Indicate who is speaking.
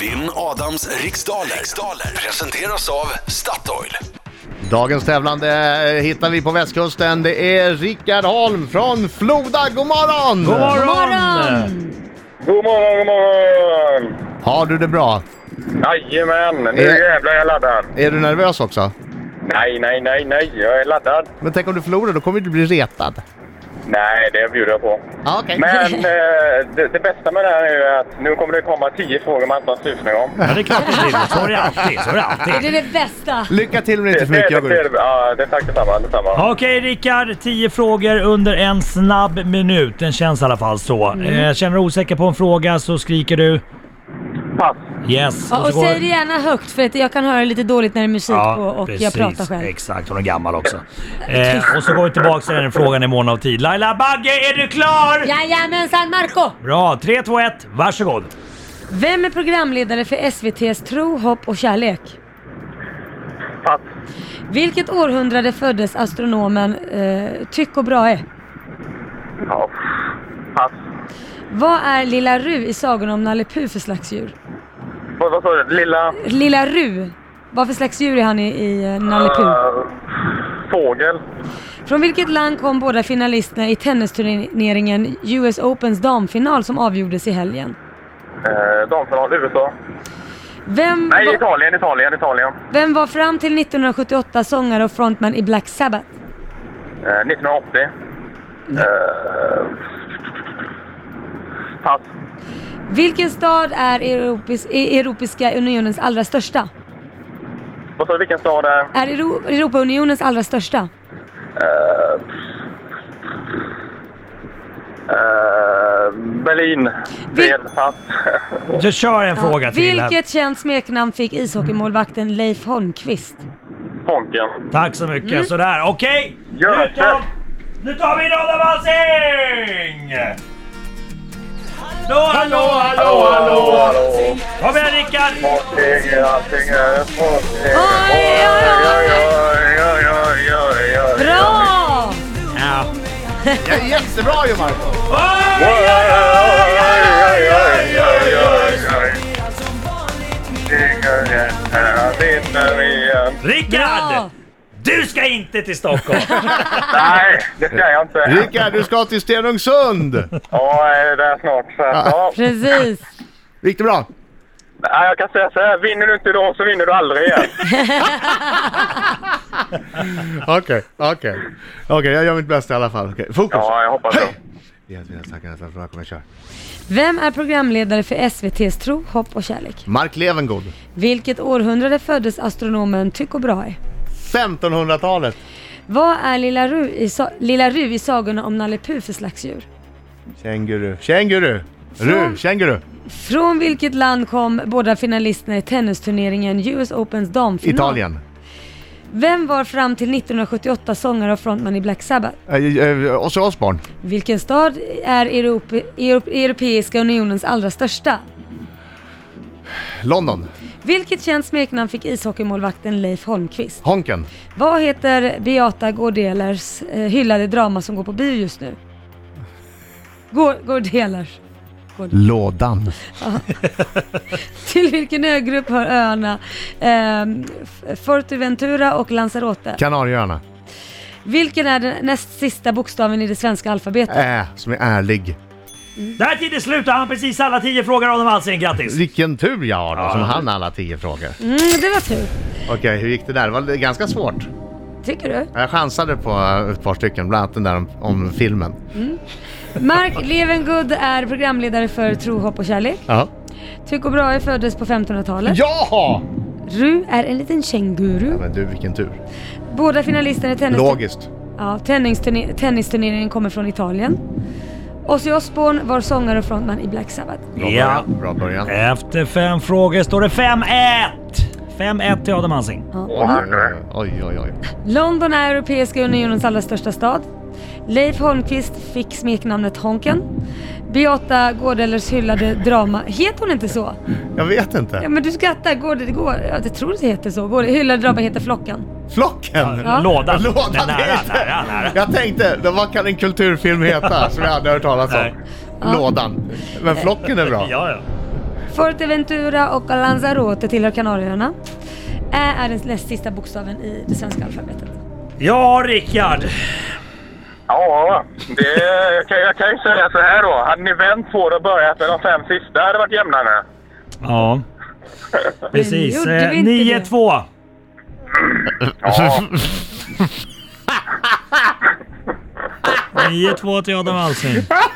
Speaker 1: Vinn Adams riksdaler. riksdaler presenteras av Statoil.
Speaker 2: Dagens tävlande eh, hittar vi på västkusten. Det är Rickard Holm från Floda. God morgon!
Speaker 3: God morgon!
Speaker 4: morgon!
Speaker 5: God morgon, god morgon!
Speaker 2: Har du det bra?
Speaker 5: Jajamän, nu
Speaker 2: Eh.
Speaker 5: jävlar är jag laddad.
Speaker 2: Är du nervös också?
Speaker 5: Nej, nej, nej, nej, jag är laddad.
Speaker 2: Men tänk om du förlorar, då kommer du bli retad.
Speaker 5: Nej, det bjuder jag på.
Speaker 2: Ja, Okej.
Speaker 5: Men eh, det, det bästa med det här är ju att nu kommer det komma tio frågor man inte har en susning om.
Speaker 3: Ja, det är klart det blir. Så är det alltid. Så är det alltid.
Speaker 4: Det är det bästa.
Speaker 2: Lycka till men inte för mycket. Jag går
Speaker 5: det,
Speaker 2: ut.
Speaker 5: det, ja, det är tack detsamma, detsamma.
Speaker 3: Okej Rickard, 10 frågor under en snabb minut. Den känns i alla fall så.
Speaker 4: Mm.
Speaker 3: Eh, känner du osäker på en fråga så skriker du
Speaker 5: Pass.
Speaker 3: yes.
Speaker 4: Ja, och
Speaker 3: så går-
Speaker 4: säg det gärna högt för att jag kan höra lite dåligt när det är musik på och jag pratar själv.
Speaker 3: Exakt, hon är gammal också. Eh, och så går vi tillbaka till den frågan i mån av tid. Laila Bagge, är du klar?
Speaker 4: Jajamensan Marco!
Speaker 3: Bra, 3, 2, 1, varsågod.
Speaker 4: Vem är programledare för SVT's Tro, hopp och kärlek?
Speaker 5: Pass.
Speaker 4: Vilket århundrade föddes astronomen eh, Tycho Brahe?
Speaker 5: Ja. Pass.
Speaker 4: Vad är Lilla Ru i sagan om Nalle Puh för slags djur?
Speaker 5: Vad vad sa du? Lilla...
Speaker 4: Lilla Ru, vad för slags djur är han i, i eh, Nalle Puh?
Speaker 5: eh, fågel.
Speaker 4: Från vilket land kom båda finalisterna i tennisturneringen US Opens damfinal som avgjordes i helgen?
Speaker 5: Uh, Damfinal, USA.
Speaker 4: Vem,
Speaker 5: Nej,
Speaker 4: va,
Speaker 5: Italien, Italien, Italien.
Speaker 4: vem var fram till 1978 sångare och frontman i Black Sabbath?
Speaker 5: Eh, 1980. Eh, pass.
Speaker 4: Vilken stad är Europis, i Europeiska unionens allra största?
Speaker 5: Vad sa du, vilken stad det är?
Speaker 4: Är Euro, Europaunionens allra största?
Speaker 5: Eh, Berlin.
Speaker 4: Vil-
Speaker 5: Fel. Pass.
Speaker 3: Du kör en fråga till. här.
Speaker 4: Vilket känt smeknamn fick ishockeymålvakten Leif Holmqvist?
Speaker 5: Honken.
Speaker 3: Tack så mycket, sådär. Okej!
Speaker 5: Gör
Speaker 3: Nu tar,
Speaker 5: det.
Speaker 3: nu tar vi in Adam Alsing! Hallå, hallå, hallå, hallå! Kom igen Rickard!
Speaker 5: Allting är- allting är fartyg.
Speaker 4: Oj, oj,
Speaker 5: Oj, oj, oj, oj, oj.
Speaker 4: Bra!
Speaker 3: Ja.
Speaker 2: Ja, jättebra ju Marco!
Speaker 3: Oj,
Speaker 5: Oj,
Speaker 3: oj, oj, oj,
Speaker 5: oj,
Speaker 3: oj,
Speaker 5: oj,
Speaker 3: oj,
Speaker 5: oj,
Speaker 3: oj.
Speaker 5: oj, oj. Allting är- här vinner igen.
Speaker 3: Rickard!
Speaker 4: Bra!
Speaker 3: Du ska inte till Stockholm!
Speaker 5: Nej, det ska jag inte.
Speaker 2: Rickard, du ska till Stenungsund!
Speaker 5: Ja, jag är där snart. Så att, ja.
Speaker 4: Precis!
Speaker 2: Gick det bra?
Speaker 5: Nej, jag kan säga så här. Vinner du inte idag så vinner du aldrig igen.
Speaker 2: Okej, okej. Okej, jag gör mitt bästa i alla fall. Okej, Fokus!
Speaker 5: Ja, jag hoppas det.
Speaker 2: Jag tackar nästan för att jag kommer köra.
Speaker 4: Vem är programledare för SVT's Tro, hopp och kärlek?
Speaker 2: Mark Levengood.
Speaker 4: Vilket århundrade föddes astronomen Tycho Brahe?
Speaker 2: 1500-talet.
Speaker 4: Vad är Lilla Ru i, sa- Lilla Ru i sagorna om Nalle Puh för slags djur?
Speaker 2: Känguru. Känguru! Ru,
Speaker 4: Från-
Speaker 2: känguru.
Speaker 4: Från vilket land kom båda finalisterna i tennisturneringen US Opens damfinal?
Speaker 2: Italien.
Speaker 4: Vem var fram till 1978 sångare och frontman i Black Sabbath?
Speaker 2: Eh, eh, Ozzy Osbourne.
Speaker 4: Vilken stad är Europe, Euro- Europeiska unionens allra största?
Speaker 2: London.
Speaker 4: Vilket känt smeknamn fick ishockeymålvakten Leif Holmqvist?
Speaker 2: Honken.
Speaker 4: Vad heter Beata Gårdelers eh, hyllade drama som går på bio just nu? Gå- Gårdelers.
Speaker 2: Lådan.
Speaker 4: Till vilken ögrupp hör öarna ehm, F- Forteventura och Lanzarote?
Speaker 2: Kanarieöarna.
Speaker 4: Vilken är den näst sista bokstaven i det svenska alfabetet?
Speaker 2: Ä, som är ärlig.
Speaker 3: Där är tiden slut och han precis alla tio frågor Adam Alsing. Grattis!
Speaker 2: Vilken tur jag har då, som
Speaker 3: Ja.
Speaker 2: hann alla tio frågor.
Speaker 4: Mm, det var tur.
Speaker 2: Okej, hur gick det där? Det var ganska svårt.
Speaker 4: Tycker du?
Speaker 2: Jag chansade på eh, ett par stycken, bland annat den där om, om filmen.
Speaker 4: Mark Levengood är programledare för Tro, hopp och kärlek.
Speaker 2: Ja!
Speaker 4: Tycho Brahe föddes på 1500-talet.
Speaker 2: Jaha!
Speaker 4: Ru är en liten känguru.
Speaker 2: Men du, vilken tur.
Speaker 4: Båda finalisterna i tennis...
Speaker 2: Logiskt.
Speaker 4: Ja, tennisturne- tennisturneringen kommer från Italien. Ozzy Osbourne var sångare och frontman i Black Sabbath.
Speaker 2: Bra
Speaker 3: Ja.
Speaker 2: början. Bra början.
Speaker 3: Efter fem frågor står det 5-1! 5-1 till Adam Alsing.
Speaker 2: Oj, oj, oj, oj.
Speaker 4: London är Europeiska unionens allra största stad. Leif Holmqvist fick smeknamnet Honken. Beata Gårdelers hyllade drama... Heter hon inte så?
Speaker 2: Jag vet
Speaker 4: Ja,
Speaker 2: inte.
Speaker 4: men du skrattar. Gårdel, går, ja, jag tror det heter så. Gårdel, hyllade drama heter Flocken.
Speaker 2: Flocken!
Speaker 4: Ja.
Speaker 3: Lådan.
Speaker 2: Lådan
Speaker 3: Nej, nära,
Speaker 2: heter-
Speaker 3: nära, nära.
Speaker 2: Jag tänkte, då vad kan en kulturfilm heta som jag aldrig hört talas om?
Speaker 3: Nej.
Speaker 2: Lådan. Men Flocken är bra.
Speaker 3: Ja, ja.
Speaker 4: Fuerteventura och Lanzarote tillhör Kanarieöarna. Ä är den näst sista bokstaven i det svenska alfabetet.
Speaker 3: Ja, Rickard!
Speaker 5: Ja, det, jag, kan, jag kan ju säga så här då. Hade ni vänt på det och börjat med de fem sista hade det varit jämnare.
Speaker 3: Ja. Precis.
Speaker 4: gjorde
Speaker 3: Eh,
Speaker 4: vi inte
Speaker 3: 9-2.
Speaker 5: Ja,
Speaker 3: Alltså, 9-2 till Adam Alsing.